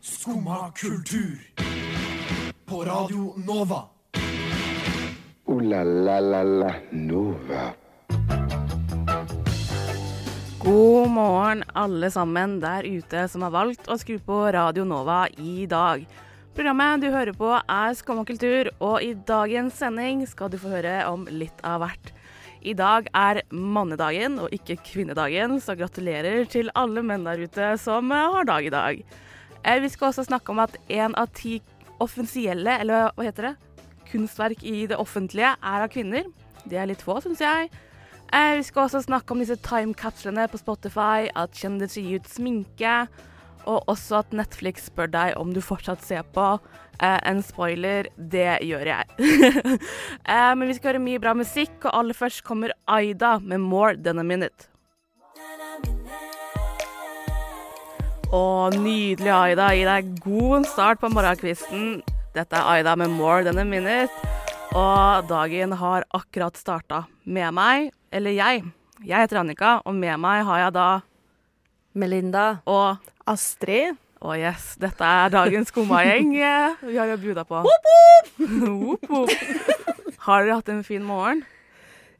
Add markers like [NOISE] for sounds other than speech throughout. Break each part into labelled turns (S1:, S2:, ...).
S1: Skumma kultur. På Radio Nova.
S2: Ooh la la la la Nova.
S3: God morgen, alle sammen der ute som har valgt å skru på Radio Nova i dag. Programmet du hører på er Skammakultur, og i dagens sending skal du få høre om litt av hvert. I dag er mannedagen og ikke kvinnedagen, så gratulerer til alle menn der ute som eh, har dag i dag. Eh, Vi skal også snakke om at én av ti offisielle, eller hva heter det, kunstverk i det offentlige er av kvinner. Det er litt få, syns jeg. Eh, Vi skal også snakke om disse timekapslene på Spotify, at kjendiser gir ut sminke, og også at Netflix spør deg om du fortsatt ser på. Eh, en spoiler, det gjør jeg. [LAUGHS] eh, men vi skal høre mye bra musikk, og aller først kommer Aida med 'More Than A Minute'. Og nydelig, Aida. Gi deg god start på morgenkvisten. Dette er Aida med 'More Than A Minute'. Og dagen har akkurat starta. Med meg, eller jeg, jeg heter Annika, og med meg har jeg da
S4: Melinda.
S3: og
S4: Astrid.
S3: Å yes, dette er dagens skummagjeng eh, vi har jo buda på. [LAUGHS] Whoop, whoop. Har dere hatt en fin morgen?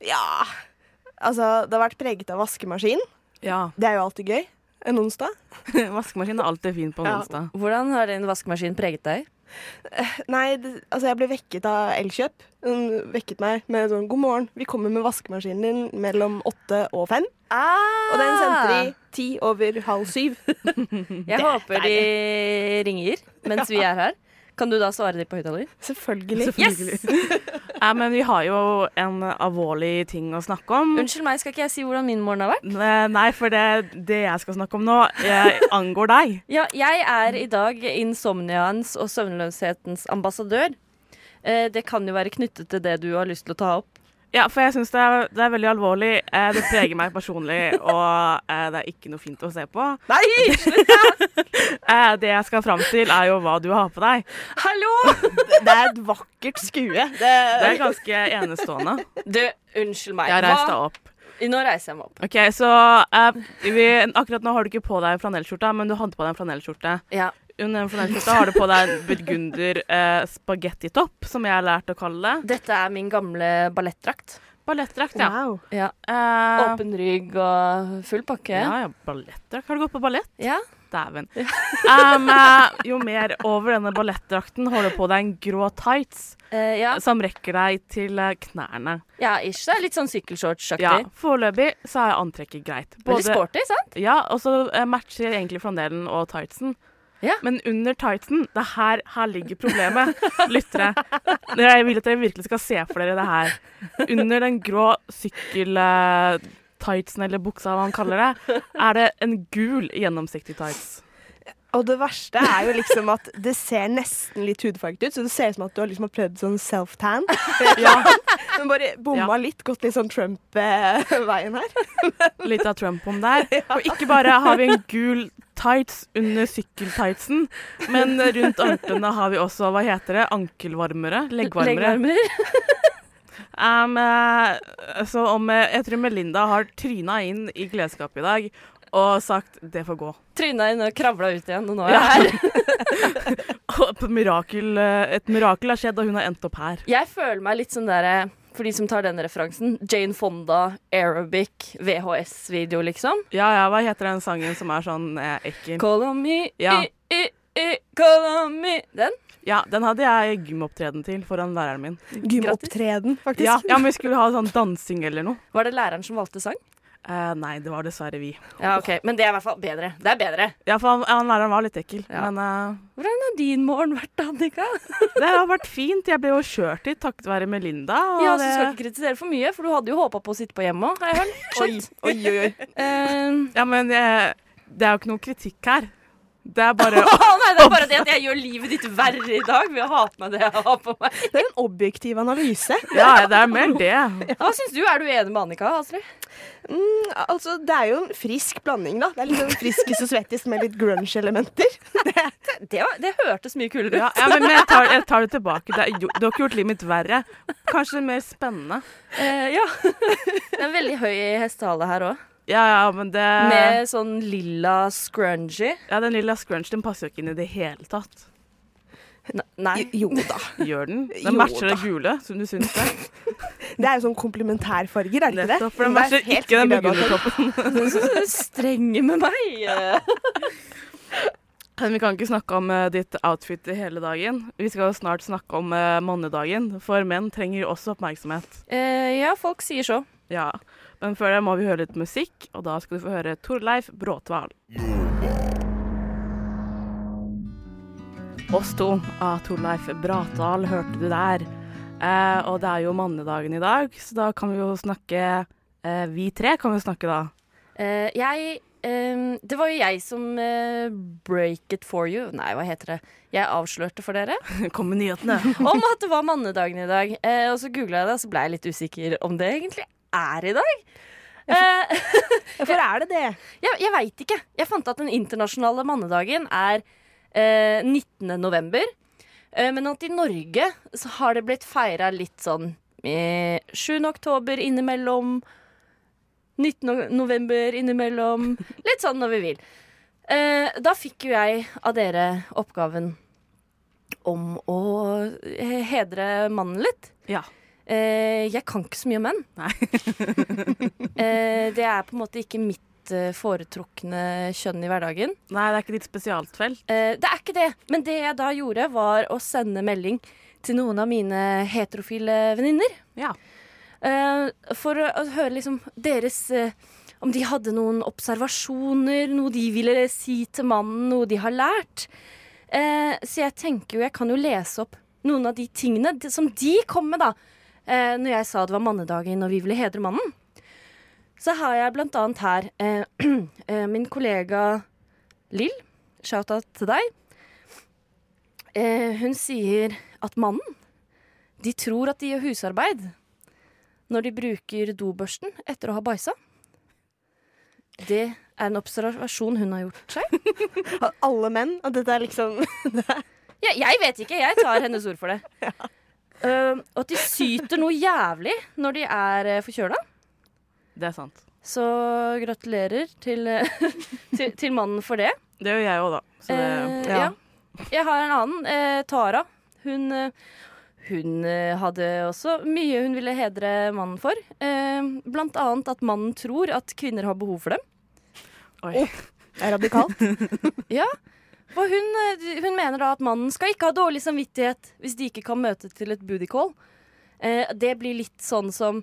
S5: Ja. Altså, det har vært preget av vaskemaskin.
S3: [LAUGHS] Ja.
S5: Det er jo alltid gøy. En onsdag.
S3: Vaskemaskin er alltid fin på en
S5: Ja.
S3: onsdag.
S4: Hvordan har din vaskemaskin preget deg?
S5: Nei, det, altså jeg ble vekket av Elkjøp. Hun vekket meg med sånn 'god morgen, vi kommer med vaskemaskinen din mellom åtte og fem'.
S4: Ah!
S5: Og
S3: Ah!
S5: den sendte de ti over halv syv.
S4: Jeg håper de ringer mens vi er her. Kan du da svare de på høyttaler?
S5: Selvfølgelig.
S3: Yes! Nei, men vi har jo en alvorlig ting å snakke om.
S4: [LAUGHS] Unnskyld meg, skal ikke jeg si hvordan min morgen har vært?
S3: Ne- Nei, for det, det jeg skal snakke om nå, eh, angår deg.
S4: Ja, jeg er i dag insomniaens og søvnløshetens ambassadør. Eh, Det kan jo være knyttet til det du har lyst til å ta opp.
S3: Ja, for jeg syns det, er- det er veldig alvorlig. Eh, det preger meg personlig, og eh, det er ikke noe fint å se på.
S5: Nei!
S3: Eh, det jeg skal fram til, er jo hva du har på deg.
S4: [LAUGHS] Hallo!
S5: Det er et vakkert skue. Det,
S3: Det er ganske enestående.
S4: Du, unnskyld meg.
S3: Jeg reiste
S4: Hva-
S3: opp.
S4: Nå reiser jeg meg opp.
S3: OK, så eh, vi, akkurat nå har du ikke på deg flanellskjorta, men du hadde på deg en flanellskjorte.
S4: Ja.
S3: Under den flanellskjorta har du på deg en burgunder eh, spagettitopp, som jeg har lært å kalle det.
S4: Dette er min gamle ballettdrakt.
S3: Ballettdrakt, ja.
S5: Wow.
S4: Ja.
S3: Eh,
S4: Åpen rygg og full pakke.
S3: ja, ja, ballettdrakt. Har du gått på ballett?
S4: ja.
S3: Dæven. Um, eh, jo mer over denne ballettdrakten har du på deg en grå tights
S4: Eh, ja.
S3: som rekker deg til eh, knærne.
S4: ja, ish. Det er litt sånn sykkelshortsaktig.
S3: Ja, Foreløpig så er antrekket greit.
S4: Veldig sporty, sant?
S3: ja, og så eh, matcher egentlig flandelen og tightsen.
S4: Ja.
S3: Men under tightsen det er her, her ligger problemet, lyttere. Jeg vil at dere virkelig skal se for dere det her. Under den grå sykkel-tightsen, eller buksa, hva han kaller det, er det en gul gjennomsiktig tights.
S5: Og det verste er jo liksom at det ser nesten litt hudfarget ut, så det ser ut som at du har liksom har prøvd sånn
S3: [LAUGHS]
S5: self-tan. Men bare
S3: Ja.
S5: bomma litt, gått litt sånn Trump-veien her.
S3: litt av Trump om der. Og ikke bare har vi en gul tights under sykkeltightsen, men rundt anklene har vi også, hva heter det, ankelvarmere? Leggvarmere.
S4: [LAUGHS] Leggvarmer.
S3: Um, eh, så om eh, Jeg tror Melinda har tryna inn i klesskapet i dag og sagt 'det får gå'.
S4: Tryna inn og kravla ut igjen, og nå er jeg her.
S3: [LAUGHS] Og et mirakel, eh, et mirakel har skjedd, og hun har endt opp her.
S4: Jeg føler meg litt som derre for de som tar den referansen. Jane Fonda, aerobic, VHS-video, liksom.
S3: Ja ja, hva heter den sangen som er sånn eh, ekkel?
S4: Call on me,
S3: Ja.
S4: i, i, i, call on me. Den?
S3: Ja, den hadde jeg gymopptreden til foran læreren min.
S5: Gymopptreden, faktisk.
S3: Ja, ja, men vi skulle ha sånn dansing eller noe.
S4: Var det læreren som valgte sang?
S3: Eh, nei, det var dessverre vi.
S4: Ja, ok. Men det er i hvert fall bedre. Det er bedre.
S3: Ja, for han, han læreren var litt ekkel.
S4: Ja.
S3: Men eh,
S4: Hvordan har din morgen vært, Annika?
S3: det har vært fint. Jeg ble jo kjørt hit takket være Melinda. Og
S4: Ja, så
S3: det,
S4: skal ikke kritisere for mye, for du hadde jo håpa på å sitte på hjemme òg, har jeg hørt.
S5: Oi, oi, oi, oi.
S4: Eh,
S3: ja men eh, det er jo ikke noe kritikk her. Det er bare
S4: [LAUGHS]
S5: [LAUGHS]
S4: Å nei, det er bare det at jeg gjør livet ditt verre i dag ved å ha på meg det jeg har på meg.
S5: Det er en objektiv analyse.
S3: Ja, det er mer
S5: [LAUGHS]
S3: det.
S4: Hva syns du? Er du enig med Annika, Astrid?
S5: Altså, Det er jo en frisk blanding, da. Det er litt sånn friskis og svettis med litt grunge-elementer.
S4: Det, var, det hørtes mye kulere ut.
S3: Ja, ja, men jeg tar, jeg tar det tilbake. Det, er jo- du har ikke gjort livet mitt verre. Kanskje mer spennende.
S4: [LAUGHS] Eh, ja. Det er en veldig høy hestehale her òg.
S3: Ja, ja, men det
S4: Med sånn lilla scrunchie.
S3: Ja, Den lilla scrunchen den passer jo ikke inn i det hele tatt.
S4: Ne- [LAUGHS] Nei.
S5: Jo da.
S3: Gjør den?
S5: Jo
S3: Den matcher det
S5: da.
S3: gule, som du syns det.
S5: Det er jo sånn komplementærfarger, er det ikke det?
S3: Nettopp, for den
S5: Men det er
S3: matcher
S5: helt
S3: ikke den
S5: grønn og sånn.
S3: burgundertoppen.
S4: Du er streng med meg.
S3: Men vi kan ikke snakke om eh, ditt outfit i hele dagen. Vi skal jo snart snakke om eh, mannedagen, for menn trenger jo også oppmerksomhet.
S4: Eh, ja, folk sier så.
S3: Ja. Men før det må vi høre litt musikk, og da skal du få høre Torleif Bråtval. Oss to av Torleif Bratdal hørte du der. Eh, og det er jo mannedagen i dag, så da kan vi jo snakke eh, Vi tre kan jo snakke, da. [LAUGHS]
S4: Eh, jeg ehm, Det var jo jeg som eh, break it for you. Nei, hva heter det? Jeg avslørte for dere
S3: Kom med nyhetene.
S4: [LAUGHS] om at det var mannedagen i dag. Eh, og så googla jeg det, og så ble jeg litt usikker om det egentlig er i dag. Eh,
S5: Ja, for er det det?
S4: jeg jeg veit ikke. Jeg fant at den internasjonale mannedagen er eh, 19. november. Eh, men at i Norge så har det blitt feira litt sånn eh, 7. oktober innimellom. 19. no- november innimellom. Litt sånn når vi vil. Eh, da fikk jo jeg av dere oppgaven om å eh, hedre mannen litt.
S3: Ja.
S4: Eh, jeg kan ikke så mye om menn.
S3: Nei.
S4: eh, det er på en måte ikke mitt eh, foretrukne kjønn i hverdagen.
S3: Nei, det er ikke ditt spesialfelt.
S4: Eh, det er ikke det, men det jeg da gjorde, var å sende melding til noen av mine heterofile venninner.
S3: Ja.
S4: Eh, for å, å høre liksom deres eh, Om de hadde noen observasjoner, noe de ville si til mannen, noe de har lært. Eh, så jeg tenker jo, jeg kan jo lese opp noen av de tingene de- som de kom med, da. Eh, når jeg sa det var mannedagen og vi ville hedre mannen. Så har jeg blant annet her eh, [CLEARS THROAT] eh, min kollega Lill. Shout-out til deg. Eh, hun sier at mannen, de tror at de gjør husarbeid når de bruker dobørsten etter å ha bæsja. Det er en observasjon hun har gjort seg.
S5: At alle menn? At dette er liksom
S4: Ja, jeg vet ikke. Jeg tar hennes ord for det. Eh, og at de syter noe jævlig når de er eh, forkjøla.
S3: Det er sant.
S4: Så gratulerer til, [LAUGHS] eh, til, til mannen for det.
S3: Det gjør jeg òg, da. Så det,
S4: Eh, ja. Jeg har en annen. Eh, Tara. Hun, eh, hun eh, hadde også mye hun ville hedre mannen for. Eh, blant annet at mannen tror at kvinner har behov for dem.
S3: Oi.
S5: er radikalt.
S4: Ja. For hun, eh, hun mener da at mannen skal ikke ha dårlig samvittighet hvis de ikke kan møte til et booty call. Eh, det blir litt sånn som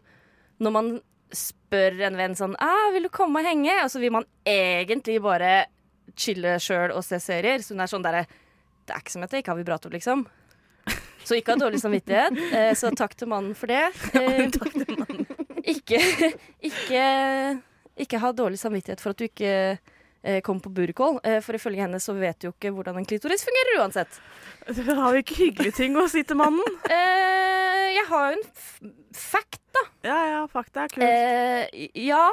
S4: når man spør en venn sånn ah, 'Vil du komme og henge?' Og så vil man egentlig bare chille sjøl og se serier. Så hun er sånn derre 'Det er ikke som at jeg ikke har vibrator', liksom. Så ikke ha dårlig samvittighet. Eh, så takk til mannen for det. Eh, ikke, ikke, ikke ha dårlig samvittighet for at du ikke eh, kom på burkål. Eh, for ifølge henne så vet du jo ikke hvordan en klitoris fungerer uansett.
S3: [LAUGHS] Har vi ikke hyggelige ting å si til mannen?
S4: Eh, jeg har jo en f fact, da.
S3: Ja ja, fakta er kult.
S4: Eh, ja.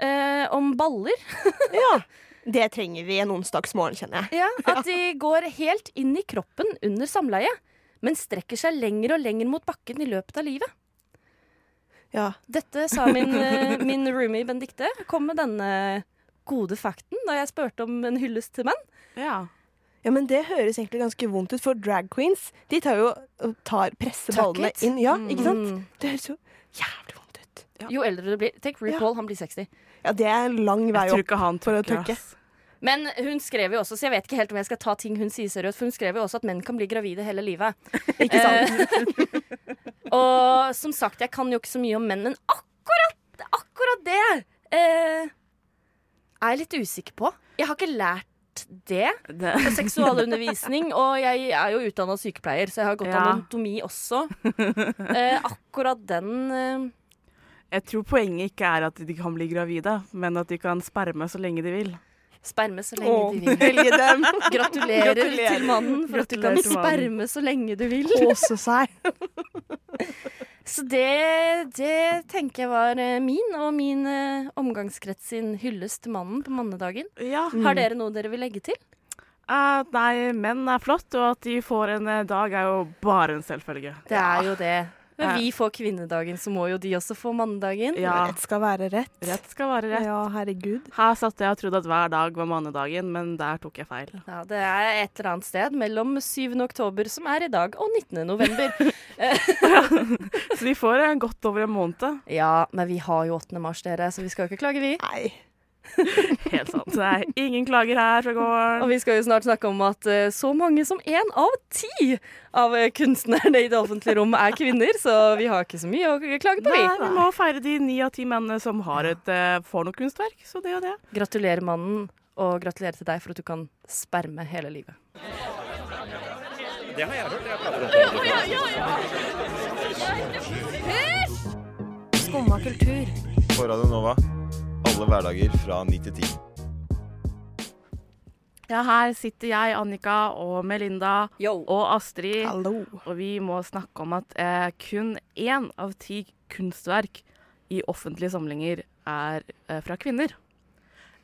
S4: Eh, om baller.
S5: Det trenger vi en onsdagsmorgen, kjenner jeg.
S4: [LAUGHS] At de går helt inn i kroppen under samleie, men strekker seg lenger og lenger mot bakken i løpet av livet.
S5: Ja.
S4: Dette sa min, eh, min roomie Benedicte. Kom med denne gode fakten da jeg spurte om en hyllest til menn.
S3: ja.
S5: ja, men det høres egentlig ganske vondt ut, for drag queens de tar jo og tar presser
S4: Tuck
S5: ballene
S4: it.
S5: inn. Ja, ikke sant?
S4: Mm.
S5: Det høres jo jævlig vondt ut.
S4: Jo eldre du blir Tenk
S5: Ja.
S4: RuPaul, han blir 60.
S5: Ja, det er en lang vei
S3: Jeg tror
S5: opp.
S3: ikke han
S5: for å
S3: tørker,
S5: tørke.
S3: ass.
S4: Men hun skrev jo også, så jeg vet ikke helt om jeg skal ta ting hun sier seriøst, for hun skrev jo også at menn kan bli gravide hele livet.
S5: [LAUGHS]
S4: Eh,
S5: Ikke sant?
S4: Og som sagt, jeg kan jo ikke så mye om menn, men akkurat, akkurat det eh, er jeg litt usikker på. Jeg har ikke lært det
S3: Det,
S4: på
S5: [LAUGHS]
S4: seksualundervisning, og jeg er jo utdanna sykepleier, så jeg har gått
S3: Ja.
S4: anatomi også. Eh, akkurat den eh,
S3: jeg tror poenget ikke er at de kan bli gravide, men at de kan sperme så lenge de vil.
S4: sperme så lenge
S5: Å,
S4: de vil.
S5: velge dem.
S4: [LAUGHS] Gratulerer,
S5: Gratulerer.
S4: til mannen for at du kan
S3: Gratulerer til mannen.
S4: sperme så lenge du vil.
S5: Kose seg.
S4: [LAUGHS] Så det, det tenker jeg var eh, min og min eh, omgangskrets sin hyllest til mannen på mannedagen.
S3: Ja.
S4: Har dere noe dere vil legge til?
S3: At nei, menn er flott, og at de får en eh, dag, er jo bare en selvfølge.
S4: Det er jo det. Men vi får kvinnedagen, så må jo de også få mannedagen.
S3: Ja.
S5: Rett skal være rett.
S3: Rett skal være rett.
S5: Ja, herregud.
S3: Her satt jeg og trodde at hver dag var mannedagen, men der tok jeg feil.
S4: Ja, det er et eller annet sted mellom 7. oktober, som er i dag, og 19.
S3: [LAUGHS]
S4: november.
S3: Så vi får eh, godt over en måned.
S4: ja, men vi har jo 8. mars, dere, så vi skal jo ikke klage, vi.
S5: Nei.
S3: Helt sant. Det er ingen klager her fra
S4: Og
S3: gården.
S4: vi skal jo snart snakke om at eh, så mange som én av ti av eh, kunstnerne i det offentlige rom er kvinner, så vi har ikke så mye å klage på,
S3: Nei,
S4: vi.
S3: vi må feire de ni av ti mennene som har et eh, får noe kunstverk. Så det og det.
S4: Gratulerer, mannen, og gratulerer til deg for at du kan sperme hele livet.
S6: På Radio Nova. Alle hverdager fra 9 til 10.
S3: Ja, her sitter jeg, Annika og Melinda og Astrid.
S5: Hallo.
S3: Og vi må snakke om at eh, kun én av ti kunstverk i offentlige samlinger er eh, fra kvinner.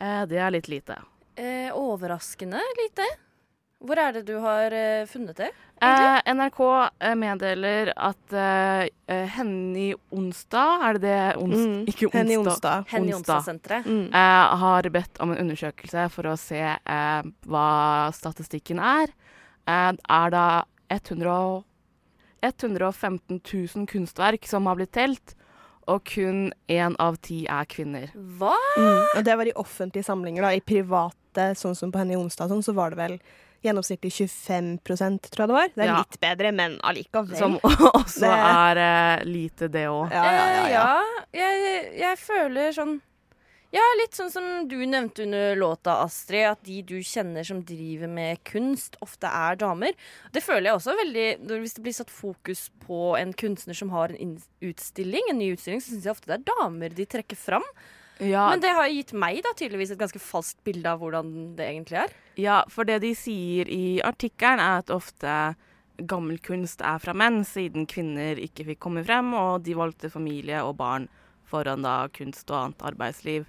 S3: Eh, det er litt lite.
S4: Eh, overraskende lite. Hvor er det du har eh, funnet det?
S3: Eh, NRK eh, meddeler at eh, eh, Henny Onsdag Er det det? Ons
S5: Mm.
S3: Ikke onsdag.
S5: Henny Onsdag.
S4: Henny
S3: Onsdag.
S4: Onsdag-senteret.
S5: Mm.
S3: eh, har bedt om en undersøkelse for å se eh, hva statistikken er. Eh, det er da 100 og- 115 000 kunstverk som har blitt telt, og kun én av ti er kvinner.
S4: Hva?
S5: Mm. Og det var i offentlige samlinger. da, I private, sånn som på Henny Onsdag, og sånn, så var det vel gjennomsnittlig 25 tror jeg det var. Det er
S3: Ja.
S5: litt bedre, men allikevel.
S3: Som [LAUGHS] også
S5: Det-
S3: er eh, lite, det òg.
S5: ja, ja, ja, ja.
S4: Eh, ja jeg, jeg føler sånn Ja, litt sånn som du nevnte under låta, Astrid, at de du kjenner som driver med kunst, ofte er damer. Det føler jeg også veldig når- Hvis det blir satt fokus på en kunstner som har en inn- utstilling, en ny utstilling, så syns jeg ofte det er damer de trekker fram.
S3: Ja,
S4: Men det har gitt meg da tydeligvis et ganske falskt bilde av hvordan det egentlig er.
S3: ja, for det de sier i artikkelen, er at ofte gammel kunst er fra menn, siden kvinner ikke fikk komme frem, og de valgte familie og barn foran da kunst og annet arbeidsliv.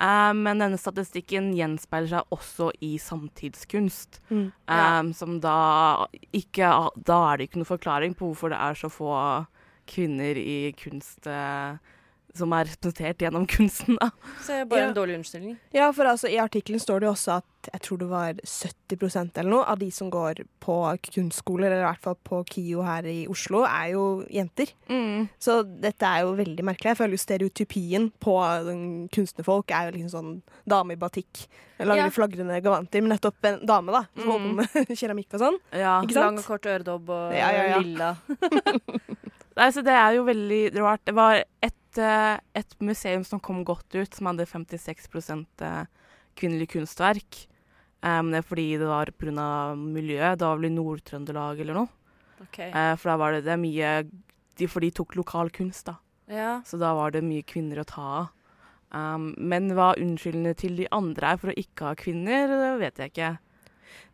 S3: Eh, men denne statistikken gjenspeiler seg også i samtidskunst, eh, som da ikke Da er det ikke noen forklaring på hvorfor det er så få kvinner i kunst eh, som er representert gjennom kunsten, da.
S4: Så bare
S5: Ja.
S4: en dårlig unnskyldning.
S5: Ja, for altså, I artikkelen står det jo også at jeg tror det var 70 eller noe av de som går på kunstskoler, eller i hvert fall på KIO her i Oslo, er jo jenter. Så dette er jo veldig merkelig. Jeg føler jo stereotypien på den kunstnerfolk er jo liksom sånn dame i batikk. Lager
S4: Ja.
S5: flagrende gavanter, men nettopp en dame, da, som holder på med [LAUGHS] keramikk og sånn.
S3: Ja.
S5: Ikke
S4: Lang
S5: sant?
S4: og kort øredobb og
S5: Ja, ja, ja.
S4: lilla.
S3: Nei, så det er jo veldig rart. Det var et, eh, et museum som kom godt ut, som hadde 56 eh, kvinnelig kunstverk. Eh, Men det er fordi det var pga. miljøet. Da var det Nord-Trøndelag eller noe. Eh, For da var det, det er mye de, For de tok lokal kunst, da.
S4: Ja.
S3: Så da var det mye kvinner å ta av. Um, men hva unnskyldningene til de andre er for å ikke ha kvinner, det vet jeg ikke.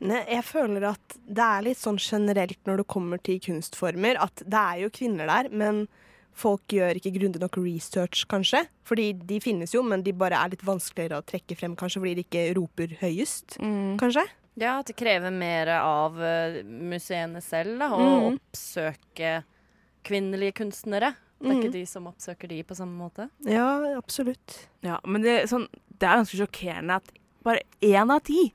S5: Nei, jeg føler at det er litt sånn generelt når det kommer til kunstformer, at det er jo kvinner der, men folk gjør ikke grundig nok research, kanskje. Fordi de finnes jo, men de bare er litt vanskeligere å trekke frem, kanskje, fordi de ikke roper høyest, kanskje.
S4: Ja, at det krever mer av eh, museene selv da, å
S5: Mhm.
S4: oppsøke kvinnelige kunstnere. Det er ikke de som oppsøker de på samme måte.
S5: Ja, absolutt.
S3: Ja, men det, er sånn, det er ganske sjokkerende at bare én av ti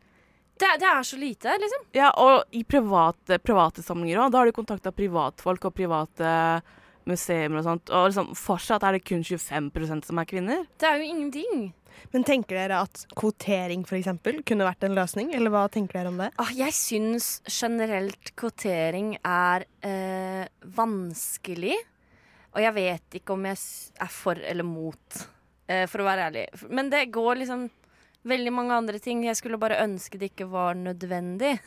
S4: Det, er- det er så lite, liksom.
S3: Ja, og i private, private samlinger òg. Da har de kontakta privatfolk og private museer og sånt. Og liksom, fortsatt er det kun 25 som er kvinner.
S4: Det er jo ingenting.
S5: Men tenker dere at kvotering, for eksempel, kunne vært en løsning? Eller hva tenker dere om det?
S4: Ah, jeg syns generelt kvotering er eh, vanskelig. Og jeg vet ikke om jeg s- er for eller mot, eh, for å være ærlig. Men det går liksom veldig mange andre ting. Jeg skulle bare ønske det ikke var nødvendig.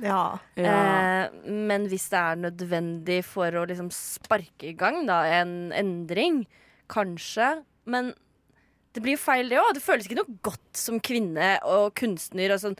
S5: Ja.
S4: Eh, men hvis det er nødvendig for å liksom sparke i gang da, en endring, kanskje. Men det blir jo feil, det òg. Det føles ikke noe godt som kvinne og kunstner. Og sånn,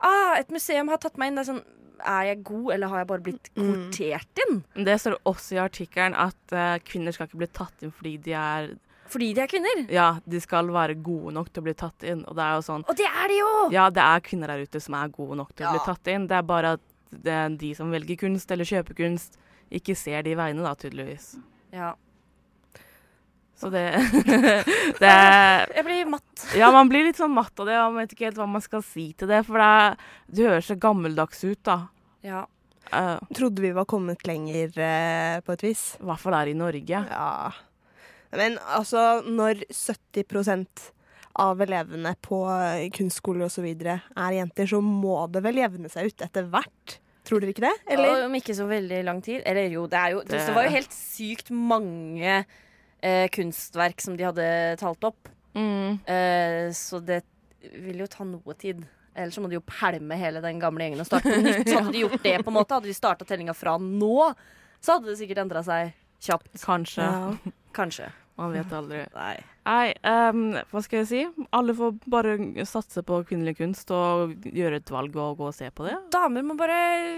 S4: ah, et museum har tatt meg inn. Det er sånn, er jeg god, eller har jeg bare blitt kvotert inn?
S3: Men det står også i artikkelen at eh, kvinner skal ikke bli tatt inn fordi de er
S4: Fordi de er kvinner.
S3: Ja, de skal være gode nok til å bli tatt inn. Og det er jo sånn
S4: Og det er de jo!
S3: Ja, det er kvinner der ute som er gode nok til å bli tatt inn. Det er bare at det er de som velger kunst eller kjøper kunst, ikke ser de veiene, da, tydeligvis.
S4: Ja.
S3: Så det, [LAUGHS] det er-
S4: Jeg blir matt.
S3: Ja, man blir litt sånn matt av det, og man vet ikke helt hva man skal si til det. For det, er- du høres så gammeldags ut, da.
S4: Ja.
S3: Eh,
S5: Trodde vi var kommet lenger, eh, på et vis.
S3: I hvert fall her i Norge.
S5: Ja. Men altså, når 70 av elevene på eh, kunstskoler osv. er jenter, så må det vel jevne seg ut etter hvert? Tror dere ikke det? Eller?
S4: Ja, Om ikke så veldig lang tid. Eller jo, det er jo Det,
S3: Det-
S4: var jo helt sykt mange eh, kunstverk som de hadde talt opp.
S3: Mm.
S4: Eh, så det vil jo ta noe tid. Ellers så må de jo pælme hele den gamle gjengen og starte på nytt. Så hadde de gjort det på en måte Hadde de starta tellinga fra nå, så hadde det sikkert endra seg kjapt.
S3: Kanskje.
S5: Ja.
S4: Kanskje.
S3: Man vet aldri.
S4: Nei.
S3: Nei, ehm, hva skal jeg si? Alle får bare satse på kvinnelig kunst og gjøre et valg og gå og se på det.
S4: Damer må bare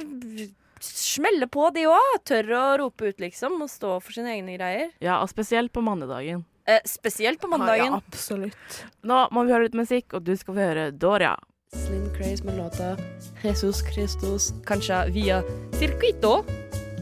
S4: smelle på, de òg. Tør å rope ut, liksom. Og stå for sine egne greier.
S3: Ja, og spesielt på mannedagen.
S4: Eh, spesielt på
S5: Ja,
S4: mandagen.
S5: absolutt.
S3: Nå må vi høre litt musikk, og du skal få høre Doria.
S4: Slim Craze med låta Jesus Christus, kanskje via Circuito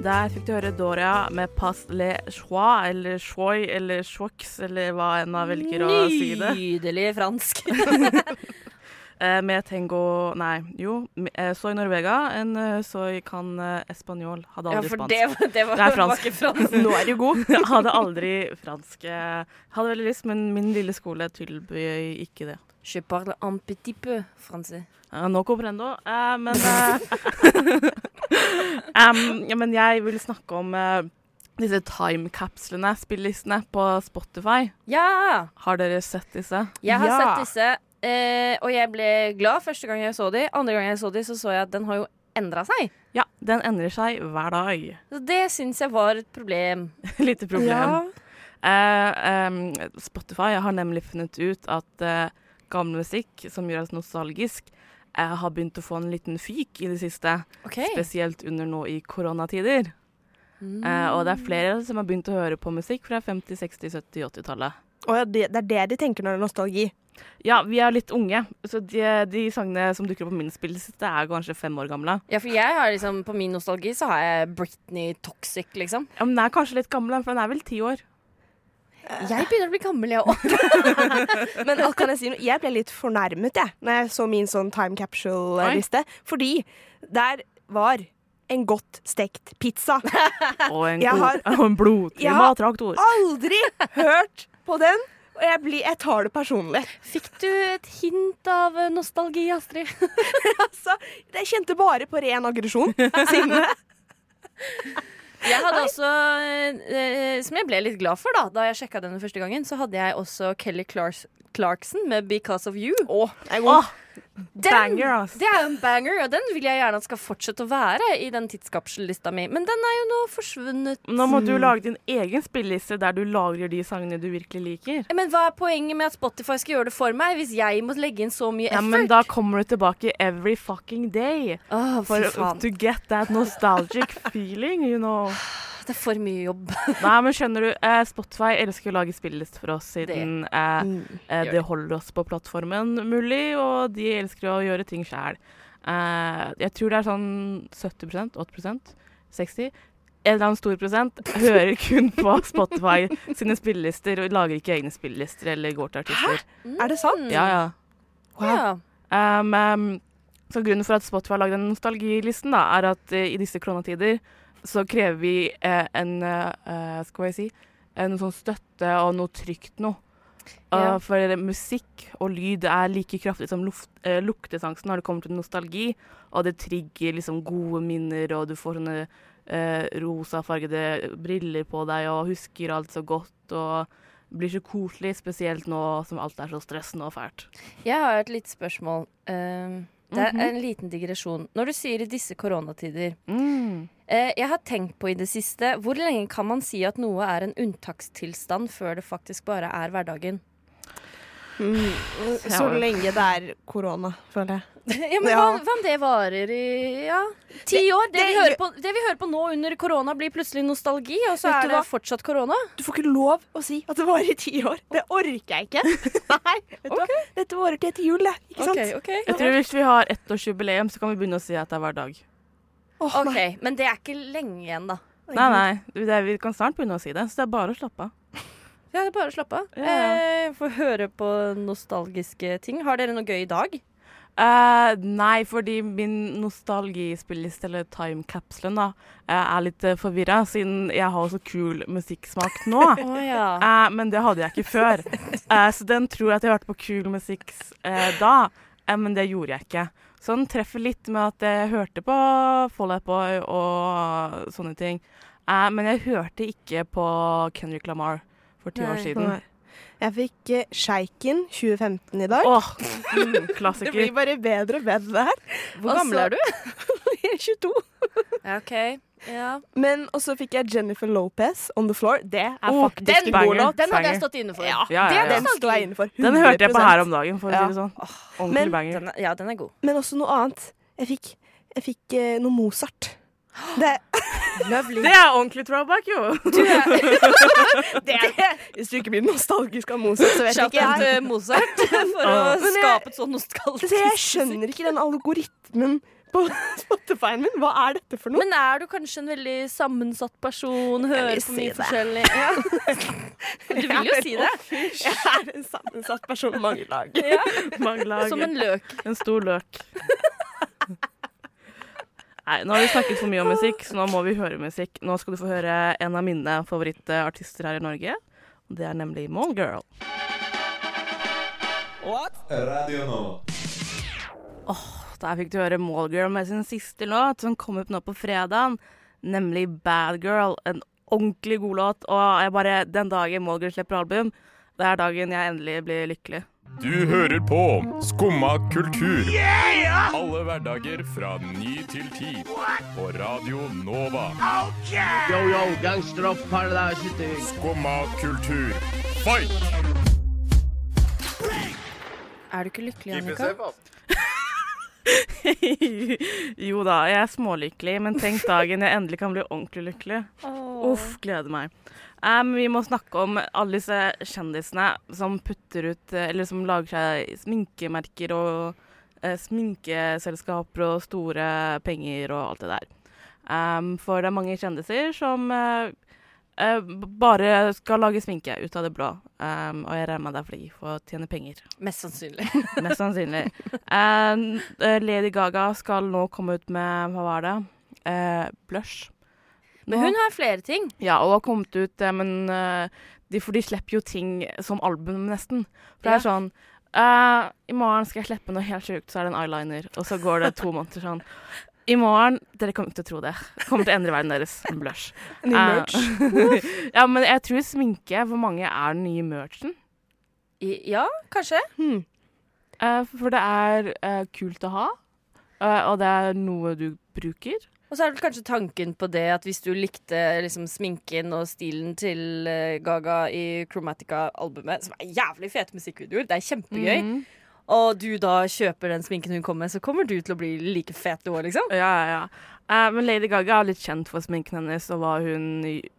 S3: Der fikk du høre Doria med Pas le choix, eller choix, eller choix, eller hva enn man velger å si det.
S4: Nydelig fransk.
S3: Eh, med Tengo Nei, jo. med, eh, Soy Norvega. En eh, soy kan eh, espanjol. Hadde
S4: Ja,
S3: aldri
S4: for
S3: spansk.
S4: det, var- det var,
S3: Det er
S4: var
S3: fransk.
S4: ikke fransk.
S3: [LAUGHS] Nå er du god. [LAUGHS] Jeg hadde aldri fransk. eh, Hadde veldig lyst, men min lille skole tilbød ikke det.
S4: Je parle un petit peu français.
S3: Eh, Nå comprendo, eh, men eh, [LAUGHS] em, ja, Men jeg vil snakke om eh, disse timekapslene, spillelistene, på Spotify.
S4: Ja!
S3: Har dere sett disse?
S4: Jeg har
S5: Ja.
S4: sett disse, eh, og jeg ble glad første gang jeg så de. Andre gang jeg så de, så så jeg at den har jo endra seg.
S3: Ja, den endrer seg hver dag. [LAUGHS]
S4: Så det syns jeg var et problem.
S3: Lite problem. Eh, em, Spotify har nemlig funnet ut at eh, gammel musikk som gjør oss nostalgisk, eh, har begynt å få en liten fyk i det siste.
S4: Ok.
S3: Spesielt under nå i koronatider. Eh, og det er flere
S5: Mm.
S3: som har begynt å høre på musikk fra 50-, 60-, 70-, 80-tallet.
S5: Å ja, det, det er det de tenker når det er nostalgi.
S3: Ja, vi er litt unge, så de, de sangene som dukker opp på min spilleliste, er kanskje fem år gamle.
S4: Ja, for jeg har liksom, På min nostalgi så har jeg Britney Toxic, liksom.
S3: Ja, men den er kanskje litt gammel, for den er vel ti
S5: [LAUGHS]
S3: år.
S4: Jeg begynner å bli gammel, jeg òg.
S5: Men al- kan jeg si noe? Jeg ble litt fornærmet, jeg, når jeg så min sånn time capsule-liste. Fordi der var en godt stekt pizza.
S3: Og en,
S5: Jeg
S3: blod, [LAUGHS] og en blodtrim
S5: Jeg har-
S3: mattraktor.
S5: Aldri hørt på den! Og jeg, blir, jeg tar det personlig.
S4: [LAUGHS] Fikk du et hint av eh, nostalgi, Astrid?
S5: Altså, jeg kjente bare på ren aggresjon. siden det.
S4: Jeg hadde også, eh, som jeg ble litt glad for da Da jeg sjekka denne første gangen, så hadde jeg også Kelly Clarks Clarkson med 'Because of You'.
S3: Åh,
S4: Den-
S3: banger, altså. ass.
S4: Det er jo en banger, og den vil jeg gjerne at skal fortsette å være i den tidskapsellista mi. Men den er jo nå forsvunnet.
S3: Nå må
S4: Mm.
S3: du lage din egen spilleliste der du lagrer de sangene du virkelig liker.
S4: Men hva er poenget med at Spotify skal gjøre det for meg, hvis jeg må legge inn så mye
S3: Ja,
S4: effort?
S3: men da kommer du tilbake every fucking day.
S4: Åh,
S3: For
S4: fy faen.
S3: to get that nostalgic feeling, you know.
S4: Det er for mye jobb.
S3: Nei, men skjønner du, eh, Spotify elsker å lage spilleliste for oss siden det, eh, eh, det holder oss på plattformen mulig, og de elsker å gjøre ting sjæl. Eh, jeg tror det er sånn 70 80 60 en eller annen stor prosent hører kun på Spotify sine spillelister og lager ikke egne spillelister eller går til artister.
S5: Er det sant?
S3: Ja, ja.
S4: Ja.
S3: Um, um, så grunnen for at Spotify har lagd den nostalgilisten, da, er at eh, i disse koronatider så krever vi eh, en eh, eh, Skal jeg si en sånn støtte og noe trygt noe.
S4: Ja.
S3: Eh, for musikk og lyd er like kraftig som luft, eh, luktesansen når det kommer til nostalgi. Og det trigger liksom gode minner, og du får sånne eh, rosafargede briller på deg og husker alt så godt og blir så koselig, spesielt nå som alt er så stressende og fælt.
S4: Jeg har et lite spørsmål. Eh, det
S3: Mhm.
S4: er en liten digresjon. Når du sier i disse koronatider
S3: Mm.
S4: eh, Jeg har tenkt på i det siste Hvor lenge kan man si at noe er en unntakstilstand før det faktisk bare er hverdagen?
S5: Mm.
S3: Mm.
S5: Så lenge det er korona, føler jeg.
S4: Ja, men
S5: Ja.
S4: Hva, hva om det varer i ja. ti år? Det,
S5: det
S4: vi
S5: gjør-
S4: hører på, det vi hører på nå under korona, blir plutselig nostalgi, og så
S5: Vet
S4: er
S5: du
S4: det
S5: hva?
S4: fortsatt korona.
S5: Du får ikke lov å si at det varer i ti år. Det orker jeg ikke. [LAUGHS] Nei, vet du hva? Dette varer til etter jul, det. Ikke sant?
S3: Jeg tror hvis vi har ettårsjubileum, så kan vi begynne å si at det er hver dag.
S5: Åh,
S4: OK,
S5: nei.
S4: men det er ikke lenge igjen, da.
S3: Nei, nei, det, er- vi kan snart begynne å si det, så det er bare å slappe av.
S4: Ja, det er bare å slappe av.
S3: Ja, ja.
S4: Eh, Få høre på nostalgiske ting. Har dere noe gøy i dag?
S3: Eh, nei, fordi min nostalgispillist, eller time capsulen, da, eh, er litt uh, forvirra, siden jeg har så kul musikksmak nå.
S4: Å ja. [LAUGHS]
S3: Eh, men det hadde jeg ikke [LAUGHS] før. Eh, så den tror jeg at jeg hørte på kul musikk eh, da, eh, men det gjorde jeg ikke. Så den treffer litt med at jeg hørte på Fall Out Boy og sånne ting. Eh, men jeg hørte ikke på Kendrick Lamar for ti år
S4: Nei.
S3: siden.
S5: Nei. Jeg fikk eh, Sjeiken 2015 i dag.
S3: Åh, mm,
S5: det blir
S3: klassiker.
S5: bare bedre og bedre det her. [LAUGHS]
S4: Eh, Hvor gammel er du?
S5: Jeg er 22.
S4: Ja, OK. Ja.
S5: Men og så fikk jeg Jennifer Lopez On The Floor. Det er
S3: Åh,
S5: faktisk
S4: Den,
S5: en god
S3: banger.
S5: låt.
S4: den hadde
S3: Banger.
S4: jeg stått inne for.
S3: Ja, ja, ja.
S5: Den skal jeg inn for.
S3: Den hørte jeg på
S5: 100%.
S3: her om dagen, for å
S5: Ja.
S3: si det sånn. Ordentlig
S5: Men-
S3: banger.
S4: Den er, ja, den er god.
S5: Men også noe annet. Jeg fikk, jeg fikk eh, noe Mozart. Det, [LAUGHS]
S3: Det er ordentlig throwback, [LAUGHS] jo!
S4: [LAUGHS]
S5: det, hvis du ikke blir nostalgisk av Mozart, så vet
S4: Shout
S5: ikke
S4: out
S5: jeg.
S4: til Mozart for å
S3: Åh.
S5: Men jeg-
S4: skape et sånn nostalgisk
S5: Så jeg skjønner ikke den algoritmen på [LAUGHS] Spotify-en min. Hva er dette for noe?
S4: Men er du kanskje en veldig sammensatt person?
S5: vil
S4: Hører
S5: si
S4: på mye
S5: det.
S4: forskjellig? Ja. Du vil jo si det.
S5: Jeg er en sammensatt person i mange lag.
S3: Mangla
S4: Som en løk.
S3: En stor løk. Nei, nå har vi snakket for mye om musikk, så nå må vi høre musikk. Nå skal du få høre en av mine favorittartister her i Norge. og Det er nemlig Mallgirl.
S6: Radio Nova.
S3: Der fikk du høre Mallgirl med sin siste låt, som kom ut nå på fredagen. Nemlig Bad Girl. En ordentlig god låt. Og jeg bare, den dagen Mallgirl slipper album, det er dagen jeg endelig blir lykkelig.
S7: Du hører på Skumma kultur. Alle hverdager fra ny til ti. På Radio Nova. Skumma kultur. Fight!
S4: Er du ikke lykkelig, Annika?
S3: [LAUGHS] jo da, jeg er smålykkelig, men tenk dagen jeg endelig kan bli ordentlig lykkelig. Uff, gleder meg. Em, vi må snakke om alle disse kjendisene som putter ut eh, Eller som lager seg sminkemerker og eh, sminkeselskaper og store penger og alt det der. Em, for det er mange kjendiser som eh, eh, b- bare skal lage sminke ut av det blå. Em, og jeg regner med det er fordi de får tjene penger.
S4: Mest sannsynlig.
S3: [LAUGHS] Mest sannsynlig. And, eh, Lady Gaga skal nå komme ut med Hva var det? Eh, blush.
S4: Men [LAUGHS] hun har flere ting.
S3: Ja, og har kommet ut eh, Men eh, de, for de slipper jo ting som album, nesten. For det er sånn eh, I morgen skal jeg slippe noe helt sjukt, så er det en eyeliner. Og så går det to måneder sånn. I morgen Dere kommer ikke til å tro det. Kommer til å endre verden deres. En blush.
S5: Ny merch.
S3: Eh, [LAUGHS] ja, men jeg tror sminke Hvor mange er den nye merchen?
S4: I, ja, kanskje.
S3: Eh, for det er eh, kult å ha, eh, og det er noe du bruker.
S4: Og så er det vel kanskje tanken på det at hvis du likte liksom, sminken og stilen til eh, Gaga i Chromatica-albumet, som er jævlig fete musikkvideoer, det er kjempegøy, og du da kjøper den sminken hun kom med, så kommer du til å bli like fet du òg, liksom.
S3: Ja, ja, ja. Eh, men Lady Gaga er litt kjent for sminken hennes og hva hun,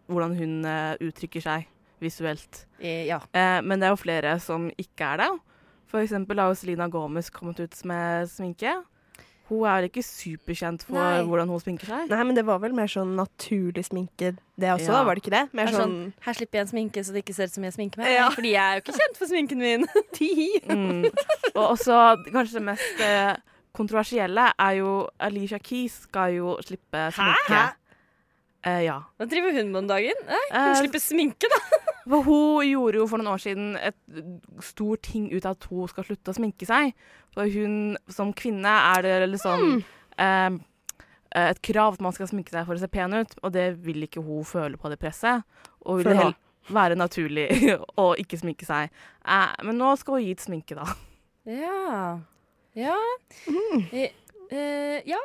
S3: hvordan hun eh, uttrykker seg visuelt.
S4: I, ja.
S3: Eh, men det er jo flere som ikke er det. For eksempel har jo Selena Gomez kommet ut med sminke. Hun er vel ikke superkjent for
S4: Nei.
S3: hvordan hun sminker seg.
S5: Nei, men det var vel mer sånn naturlig sminke, det også,
S3: Ja.
S5: da, var det ikke det? Mer
S4: Det er
S5: sånn,
S4: sånn, her slipper jeg en sminke så det ikke ser ut som jeg sminker meg.
S5: Ja.
S4: Fordi jeg er jo ikke kjent for sminken min.
S5: ti.
S3: [LAUGHS] Mm. Og også kanskje det mest eh, kontroversielle er jo Alicia Keys skal jo slippe sminke.
S5: Hæ?
S3: Eh, ja.
S4: Hva driver hun med om dagen? Nei, hun
S3: Eh,
S4: slipper sminke, da.
S3: For hun gjorde jo for noen år siden et stor ting ut av at hun skal slutte å sminke seg. For hun som kvinne er det liksom eh, et krav at man skal sminke seg for å se pen ut, og det vil ikke hun føle på det presset. Og vil
S5: Føler
S3: heller være naturlig [LAUGHS] og ikke sminke seg. Eh, men nå skal hun gi et sminke, da.
S4: Ja. Ja. Eh, eh, ja.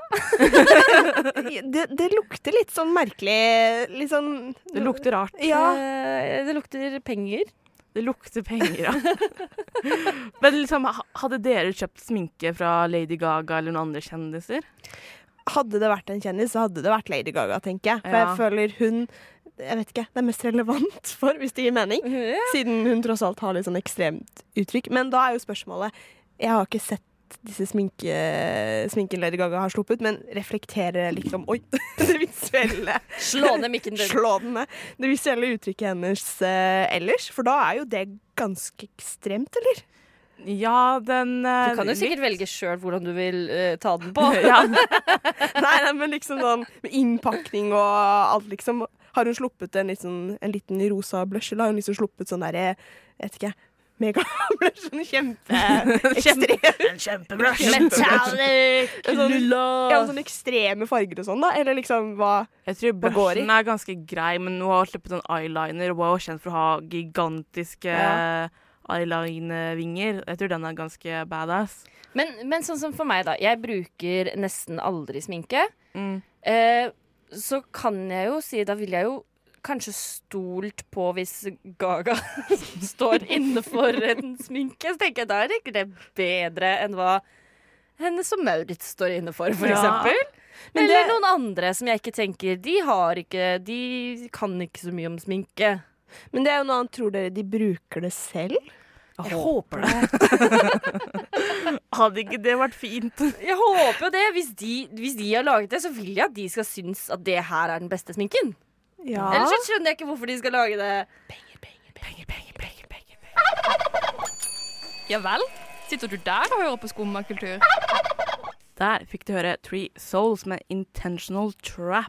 S5: Det, det lukter litt sånn merkelig, litt sånn
S3: Det lukter rart.
S5: Ja.
S4: Eh, det lukter penger.
S3: Det lukter penger, ja. [LAUGHS] Men liksom, ha- hadde dere kjøpt sminke fra Lady Gaga eller noen andre kjendiser?
S5: Hadde det vært en kjendis, så hadde det vært Lady Gaga, tenker jeg. For
S3: Ja.
S5: jeg føler hun jeg vet ikke, Det er mest relevant [LAUGHS] for, hvis det gir mening. Siden hun tross alt har litt sånn ekstremt uttrykk. Men da er jo spørsmålet Jeg har ikke sett disse sminke, sminken Lady Gaga har sluppet, men reflekterer jeg litt om Oi! [LAUGHS] Det visuelle
S4: Slå ned mikken din.
S5: Slå den ned. Det visuelle uttrykket hennes eh, ellers. For da er jo det ganske ekstremt, eller?
S3: Ja, den
S4: Du kan jo sikkert velge sjøl hvordan du vil eh, ta den på.
S3: [LAUGHS]
S4: [LAUGHS]
S3: ja,
S5: [LAUGHS] Nei, nei, men liksom sånn med innpakning og alt, liksom. Har hun sluppet en, litt sånn, en liten rosa blush, eller har hun liksom sluppet sånn derre Jeg vet ikke. Megablush. Sånn kjempeekstrem.
S3: En
S5: [LAUGHS]
S3: kjempebrush.
S4: Metallic!
S5: Ja, sånn ekstreme farger og sånn, da. Eller liksom hva
S3: Jeg tror
S5: Hva går i?
S3: brushen er ganske grei, men hun har sluppet sånn eyeliner og var jo kjent for å ha gigantiske eh,
S5: Ja.
S3: eyelinervinger. Jeg tror den er ganske badass.
S4: Men, men sånn som for meg, da. Jeg bruker nesten aldri sminke.
S3: Mm.
S4: Eh, så kan jeg jo si Da ville jeg jo kanskje stolt på hvis Gaga [LAUGHS] står innenfor en sminke. Så tenker jeg da er ikke det bedre enn hva henne som Maurits står inne for, for
S3: Ja.
S4: eksempel.
S5: Men
S4: Eller
S5: det-
S4: noen andre som jeg ikke tenker De har ikke De kan ikke så mye om sminke.
S5: Men det er jo noe annet. Tror dere de bruker det selv?
S3: Jeg håper det. Hadde ikke det vært fint? [LAUGHS]
S4: Jeg håper jo det. Hvis de, hvis de har laget det, så vil jeg at de skal synes at det her er den beste sminken.
S5: Ja.
S3: Ah.
S4: Ellers så skjønner jeg ikke hvorfor de skal lage det.
S8: Ja vel? Sitter du der og hører på skummakultur?
S3: Der fikk du høre Three Souls med Intentional Trap.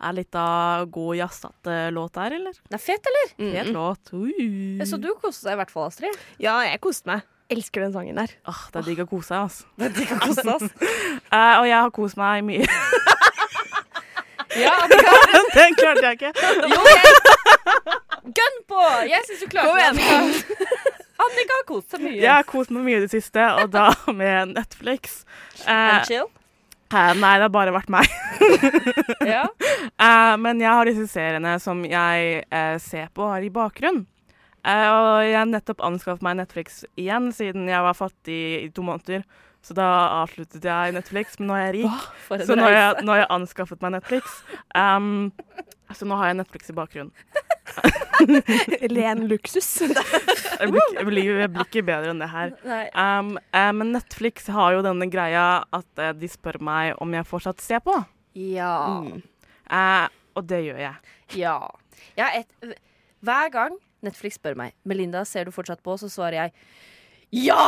S3: Er litt av god jazzete låt der, eller?
S4: Den er fet, eller?
S3: Fet låt. Uh.
S4: Så du koste deg i hvert
S3: [LAUGHS]
S4: fall, Astrid.
S5: ja, jeg koste meg. Elsker den sangen der.
S3: Ah, det er digg å kose seg, altså.
S4: Det er ikke koste oss.
S3: Eh, og jeg har kost meg mye. [LAUGHS]
S4: Ja, det kan-
S3: Den klarte jeg ikke.
S4: jo, jeg... Gønn på! Jeg syns du klarte det. Annika. Annika har kost seg mye.
S3: Jeg har kost meg mye i det siste, og da [LAUGHS] med Netflix.
S4: And
S3: Eh,
S4: chill.
S3: eh, nei, det har bare vært meg.
S4: Ja.
S3: Eh, men jeg har disse seriene som jeg eh, ser på og har i bakgrunnen. Eh, og jeg har nettopp anskaffet meg Netflix igjen, siden jeg var fattig i to måneder. Så da avsluttet jeg Netflix, men nå er jeg rik.
S4: For
S3: Så
S4: en
S3: nå har
S4: reise.
S3: jeg, nå har jeg anskaffet meg Netflix. Um, så nå har jeg Netflix i bakgrunnen.
S5: Ren luksus.
S3: Jeg blir, ikke- jeg blir, jeg blir ikke bedre enn det her.
S4: Nei.
S3: Um, eh, men Netflix har jo denne greia at eh, de spør meg om jeg fortsatt ser på.
S4: Ja.
S3: Eh, og det gjør jeg.
S4: [LAUGHS] Ja. Jeg har et Hver gang Netflix spør meg Melinda, ser du fortsatt på, så svarer jeg ja!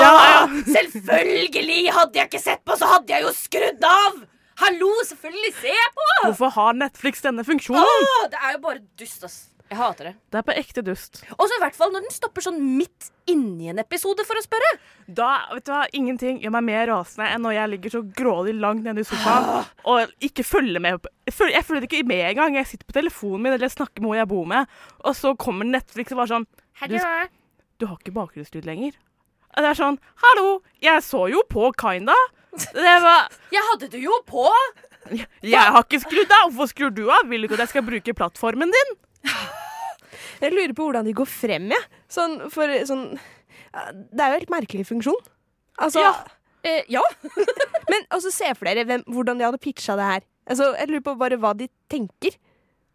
S3: Ja, ja.
S4: Selvfølgelig! Hadde jeg ikke sett på, så hadde jeg jo skrudd av! Hallo, selvfølgelig! Se på!
S3: Hvorfor har Netflix denne funksjonen?
S4: Åh, det er jo bare dust, ass. Mm. Jeg hater det.
S3: Det er på ekte dust.
S4: Og så i hvert fall når den stopper sånn midt inni en episode for å spørre.
S3: Da, vet du hva, Ingenting gjør meg mer rasende enn når jeg ligger så grådig langt nede i sofaen og ikke følger med. på- Jeg følger, jeg følger ikke med engang. Jeg sitter på telefonen min eller snakker med hun jeg bor med, og så kommer Netflix og bare sånn du, du har ikke bakgrunnslyd lenger. Og det er sånn Hallo, jeg så jo på Kinda. Det var,
S4: Jeg hadde det jo på!
S3: jeg har ikke skrudd av. Hvorfor skrur du av? Vil du ikke at jeg skal bruke plattformen din?
S5: Jeg lurer på hvordan de går frem, jeg. Sånn, for sånn Det er jo en helt merkelig funksjon. Altså,
S3: Ja.
S4: Eh, ja.
S5: Men også se for dere hvem, hvordan de hadde pitcha det her. Altså, jeg lurer på bare hva de tenker.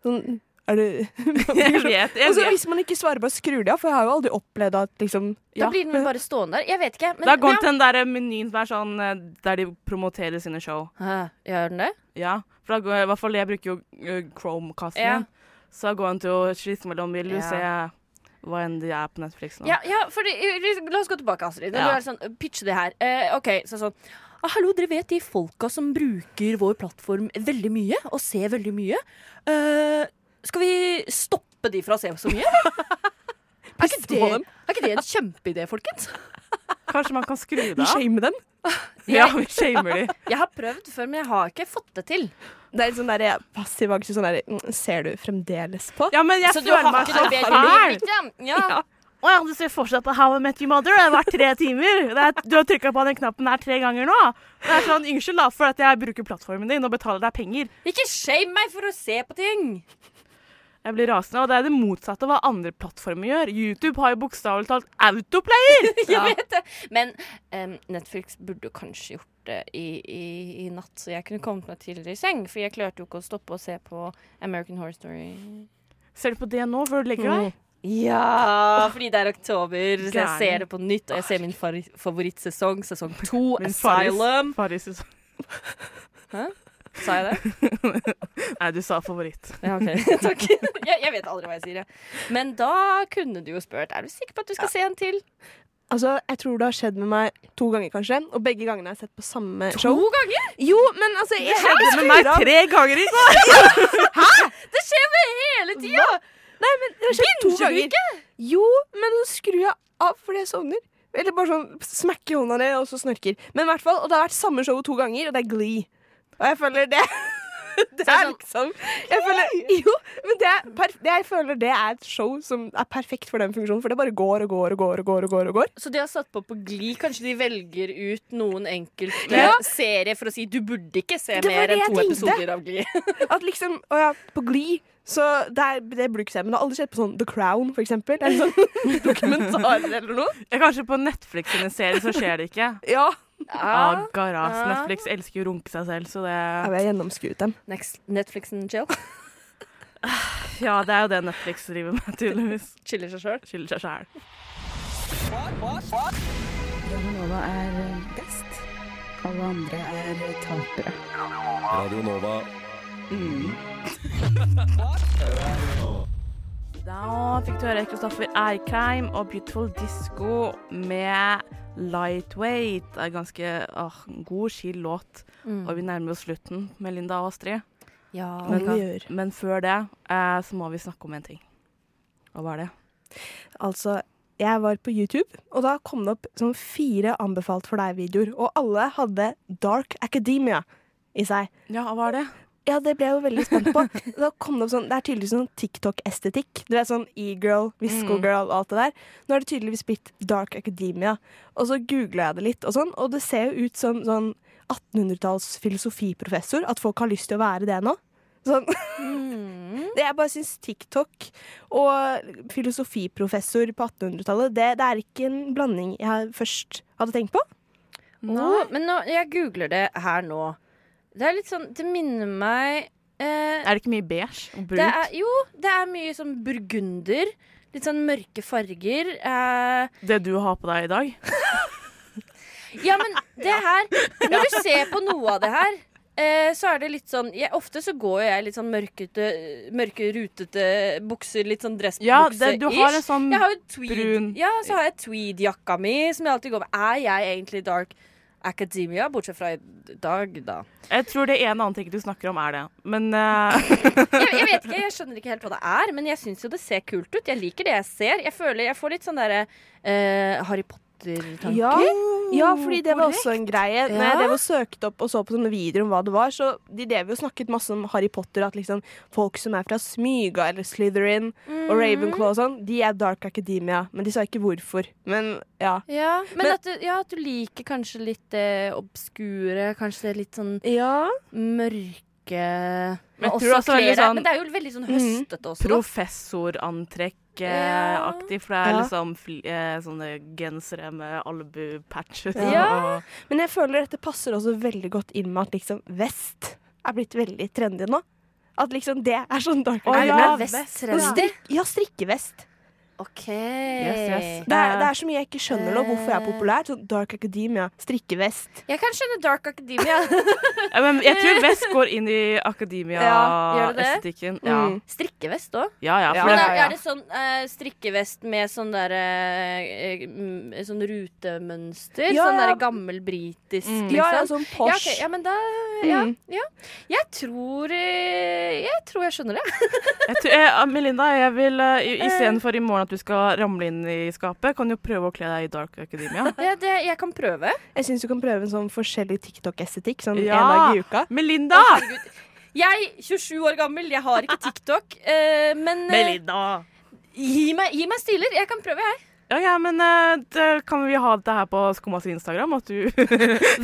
S5: Sånn, er det
S3: [LAUGHS] Jeg vet, jeg
S5: Altså,
S3: vet.
S5: Hvis man ikke svarer, bare skrur de av. For jeg har jo aldri opplevd at liksom
S4: Da blir den vel bare stående der. Jeg vet ikke. Men,
S3: Da går den til den der eh, menyen som er sånn eh, der de promoterer sine show.
S4: ja. Gjør den det?
S3: Ja, for da går jeg, i hvert fall jeg bruker jo eh, Chromecasten
S4: Ja.
S3: min. Så da går han til å slite mellom vil du
S4: Ja.
S3: se hva enn det er på Netflix nå.
S4: Ja, [LAUGHS] ja fordi, eh, La oss gå tilbake, Astrid. Når
S3: Ja.
S4: Du er sånn, pitche det her. Eh, ok, så sånn ah, Hallo, dere vet de folka som bruker vår plattform veldig mye og ser veldig mye. Eh, skal vi stoppe de fra å se så mye? er, [LAUGHS] ikke det, er ikke det en kjempeidé, folkens?
S3: Kanskje man kan skru det av?
S5: shame dem.
S3: Ja, vi shamer de.
S4: Jeg har prøvd før, men jeg har ikke fått det til.
S5: Det er litt sånn der, ja, passiv aggressiv sånn der mm, Ser du fremdeles på?
S3: Ja, men jeg
S4: Så du har
S3: føler meg
S4: ikke
S3: så
S4: [LAUGHS] noe bedre
S3: fæl.
S4: liv, ikke? Ja.
S3: Å ja, du ser fortsatt på How I Met Your Mother. Det har vært tre timer. Det er, du har trykka på den knappen her tre ganger nå. Det er sånn, Unnskyld da, for at jeg bruker plattformen din og betaler deg penger.
S4: Ikke shame meg for å se på ting!
S3: Jeg blir rasende. Og det er det motsatte av hva andre plattformer gjør. YouTube har jo bokstavelig talt autoplayer!
S4: [LAUGHS] Jeg vet det. Men em, Netflix burde jo kanskje gjort det i, i, i natt, så jeg kunne kommet meg tidligere i seng. For jeg klarte jo ikke å stoppe å se på American Horror Story.
S3: Ser du på det nå før du legger
S4: Mm.
S3: deg?
S4: [LAUGHS] Ja, fordi det er oktober, så jeg
S3: Gæren.
S4: ser det på nytt. Og jeg ser min far favorittsesong, sesong to,
S3: Min faris-
S4: Asylum.
S3: faris-
S4: Sa jeg det?
S3: Nei, du sa favoritt.
S4: [LAUGHS] Ja, OK. [LAUGHS] Takk. Jeg, jeg vet aldri hva jeg sier, jeg. Men da kunne du jo spurt Er du sikker på at du skal se en til.
S5: Altså, Jeg tror det har skjedd med meg to ganger, kanskje. Og begge gangene har jeg sett på samme show.
S4: ganger?
S5: Jo, men altså jeg
S3: Det med meg tre [LAUGHS] ganger i
S4: Det skjer med hele tida!
S5: Nei, men det har skjedd to
S4: Binger du
S5: ganger. Jo, men så skrur jeg av fordi jeg sovner. Eller bare sånn smekker hånda ned, og så snorker. Men i hvert fall, og det har vært samme show to ganger, og det er Glee. Og jeg føler det [LAUGHS] Det er
S4: sånn,
S5: liksom jeg føler, Jo, men det er perf det jeg føler det er et show som er perfekt for den funksjonen, for det bare går og går og går og går. og går og går
S4: Så de har satt på på Gli. Kanskje de velger ut noen enkelte
S5: Ja.
S4: serier for å si du burde ikke se
S5: Det var
S4: mer
S5: det
S4: enn
S5: jeg
S4: to
S5: tenkte.
S4: episoder av [LAUGHS] Gli.
S5: At liksom, å ja, På Glee så det, er, det bruker jeg, men det har aldri skjedd på sånn The Crown, for eksempel. Det er en sånn [LAUGHS] dokumentarer eller noe.
S3: Ja, kanskje på Netflix sine serier så skjer det [LAUGHS] ikke.
S5: Ja.
S3: Ah, garas. Netflix elsker jo å runke seg selv, så det
S5: Jeg har gjennomskuet dem.
S4: Next, Netflix and chill.
S3: Ja, det er jo det Netflix driver med, [LAUGHS] tydeligvis.
S4: Chiller seg sjøl.
S3: Skylder seg sjæl.
S7: Radio Nova.
S3: Da fikk du høre Kristoffer Eikheim og Beautiful Disco med Lightweight. Det er ganske åh, god, chill låt. Og vi nærmer oss slutten med Linda og Astrid.
S4: Ja.
S3: Men,
S5: vi gjør.
S3: men før det eh, så må vi snakke om en ting. Og hva er det?
S5: Altså, jeg var på YouTube, og da kom det opp sånn fire anbefalt for deg-videoer. Og alle hadde Dark Academia i seg.
S3: Ja, og hva er det?
S5: Ja, det ble jeg jo veldig spent på. [LAUGHS] Da kom Det opp sånn, det er tydeligvis sånn TikTok-estetikk. Du vet sånn E-girl, Visco-girl og alt det der. Nå er det tydeligvis blitt Dark Academia. Og så googla jeg det litt, og sånn, og det ser jo ut som sånn 1800-talls filosofiprofessor. At folk har lyst til å være det nå. Sånn. [LAUGHS] Det jeg bare syns TikTok og filosofiprofessor på 1800-tallet, det, det er ikke en blanding jeg først hadde tenkt på.
S4: Å, men nå, jeg googler det her nå. Det er litt sånn Det minner meg eh,
S3: Er det ikke mye beige og brunt?
S4: det er, Jo, det er mye sånn burgunder. Litt sånn mørke farger. Eh,
S3: det du har på deg i dag?
S4: Ja, men det
S3: [LAUGHS]
S4: her Når du ser på noe av det her eh, så er det litt sånn jeg, Ofte så går jo jeg litt sånn mørkete, mørke, rutete bukser, litt sånn
S3: Ja, det, du har en
S4: dressbukse-ish.
S3: sånn
S4: Jeg har jo tweed.
S3: brun-
S4: Ja, så har jeg tweed-jakka mi, som jeg alltid går med. Er jeg egentlig dark academia, bortsett fra i dag, da?
S3: Jeg tror det ene og annet ikke du snakker om, er det. Men
S4: [LAUGHS]
S3: eh,
S4: Jeg, jeg vet ikke, jeg skjønner ikke helt hva det er, men jeg syns jo det ser kult ut. Jeg liker det jeg ser. Jeg føler jeg får litt sånn derre eh, Harry Potter-tanker.
S5: Ja, ja, fordi det var også en greie. Når jeg drev og søkte opp og så på sånne videoer om hva det var, så de drev jo og snakket masse om Harry Potter, at liksom folk som er fra Smyga eller Slytherin
S4: Mm.
S5: og Ravenclaw og sånn, de er Dark Academia. Men de sa ikke hvorfor. Men ja.
S4: Ja, men,
S5: Men-
S4: at, du, ja, at du liker kanskje litt det obskure, kanskje det litt sånn
S5: Ja,
S4: mørke
S3: Men jeg
S4: også
S3: tror det er også veldig
S4: kler deg-
S3: sånn- Mhm.
S4: men det er jo veldig sånn høstete også. da. Ja.
S3: professorantrekk-aktig, eh, for det er
S5: Ja.
S3: liksom fl eh, sånne gensere med albu-patches.
S4: Ja.
S3: og-
S5: Men jeg føler dette passer også veldig godt inn med at liksom vest er blitt veldig trendy nå. At liksom det er sånn dark
S3: Å,
S5: academia.
S3: ja,
S4: vest,
S3: vest,
S5: Men
S4: trendy.
S3: ja.
S5: strik- Ja, strikkevest.
S4: OK.
S3: Yes, yes.
S5: Det er, det er så mye jeg ikke skjønner nå hvorfor jeg er populær. Sånn dark academia, strikkevest.
S4: Jeg kan skjønne dark academia.
S3: [LAUGHS] Ja, men jeg tror vest går inn i
S4: Ja, gjør det
S3: akademia-estetikken. Ja,
S5: Mm.
S4: Strikkevest òg.
S3: ja, ja, for
S4: Men
S3: det,
S4: er, er det sånn eh, strikkevest med sånn der eh, mm, Sånn rutemønster?
S5: Ja,
S4: sånn
S5: ja.
S4: der gammel britisk,
S3: Mm.
S4: liksom?
S5: Ja, ja,
S4: Ja,
S5: sånn posh.
S4: ok, ja, men da ja,
S5: Mm.
S4: ja. Jeg tror eh, Jeg tror jeg skjønner det.
S3: jeg tror, eh, Melinda, jeg vil eh, i- istedenfor i morgen at du skal ramle inn i skapet, kan du prøve å kle deg i Dark
S4: [LAUGHS]
S3: Academia.
S4: Ja, det jeg kan prøve.
S5: Jeg syns du kan prøve en sånn forskjellig TikTok-estetikk sånn
S3: Ja.
S5: en dag i uka.
S3: Melinda!
S4: Jeg, 27 år gammel, jeg har ikke TikTok, eh, men eh,
S3: Melinda! [LAUGHS]
S4: gi, meg, gi meg stiler. Jeg kan prøve, jeg.
S3: Ja, ja, men eh, det, kan vi ha dette her på Skummas Instagram? At du [LAUGHS]
S4: Hver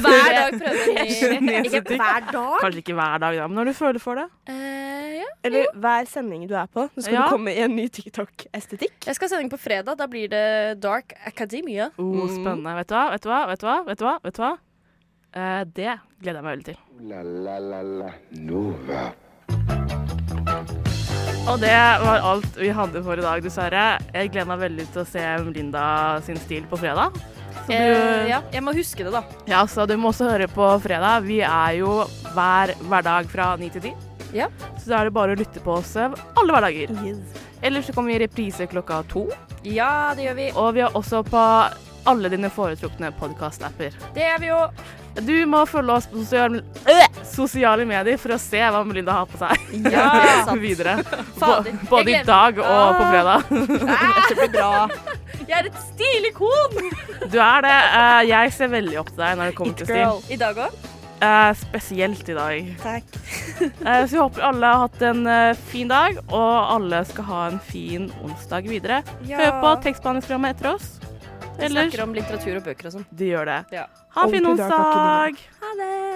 S4: dag prøver [LAUGHS] jeg ny.
S3: Ikke hver dag? Kanskje ikke hver dag, da, men når du føler for det.
S4: Eh, ja.
S5: Eller hver sending du er på, så skal
S3: Ja.
S5: du komme i en ny TikTok-estetikk.
S4: Jeg skal ha sending på fredag. Da blir det Dark Academia.
S3: Oh, spennende. Vet du hva, vet du hva, vet du hva? Vet du hva? Vet du hva? Eh, det gleder jeg meg veldig til.
S2: Ooh la la la la Nova.
S3: Og det var alt vi hadde for i dag, dessverre. Jeg gleder meg veldig til å se Linda sin stil på fredag. Så du,
S4: Eh,
S3: ja.
S4: ja, jeg må huske det, da.
S3: så du må også høre på fredag. Vi er jo hver hverdag fra 9 til 10.
S4: Ja.
S3: Så da er det bare å lytte på oss eh, alle hverdager. Ellers så kommer vi i reprise klokka to.
S4: Ja, det gjør vi.
S3: Og vi er også på alle dine foretrukne podkast-apper.
S4: Det er vi jo.
S3: Du må følge oss på sosial, øh, sosiale medier for å se hva Melinda har på seg
S4: Ah, Ja, det
S3: [LAUGHS]
S4: er sant.
S3: videre. Bå-
S4: Fader, jeg Ah.
S3: Både i
S4: glemte.
S3: dag og på fredag.
S9: Det blir bra.
S4: Jeg er et stilig kon!
S3: Du er det. Eh, Jeg ser veldig opp til deg når det kommer til stil.
S4: I dag òg.
S3: Eh, Spesielt i dag.
S5: Takk.
S3: Eh, Så vi håper alle har hatt en eh, fin dag, og alle skal ha en fin onsdag videre. Hør på tekstbehandlingsprogrammet etter oss. Ellers,
S4: Snakker om litteratur og bøker og sånn.
S3: de gjør det.
S4: Ja.
S3: Ha en fin
S5: Ordentlig dag,
S3: onsdag!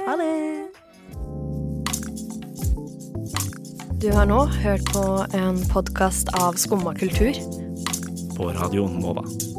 S5: Ha det.
S10: Du har nå hørt på en podkast av Skumma kultur.
S1: På radioen Nova.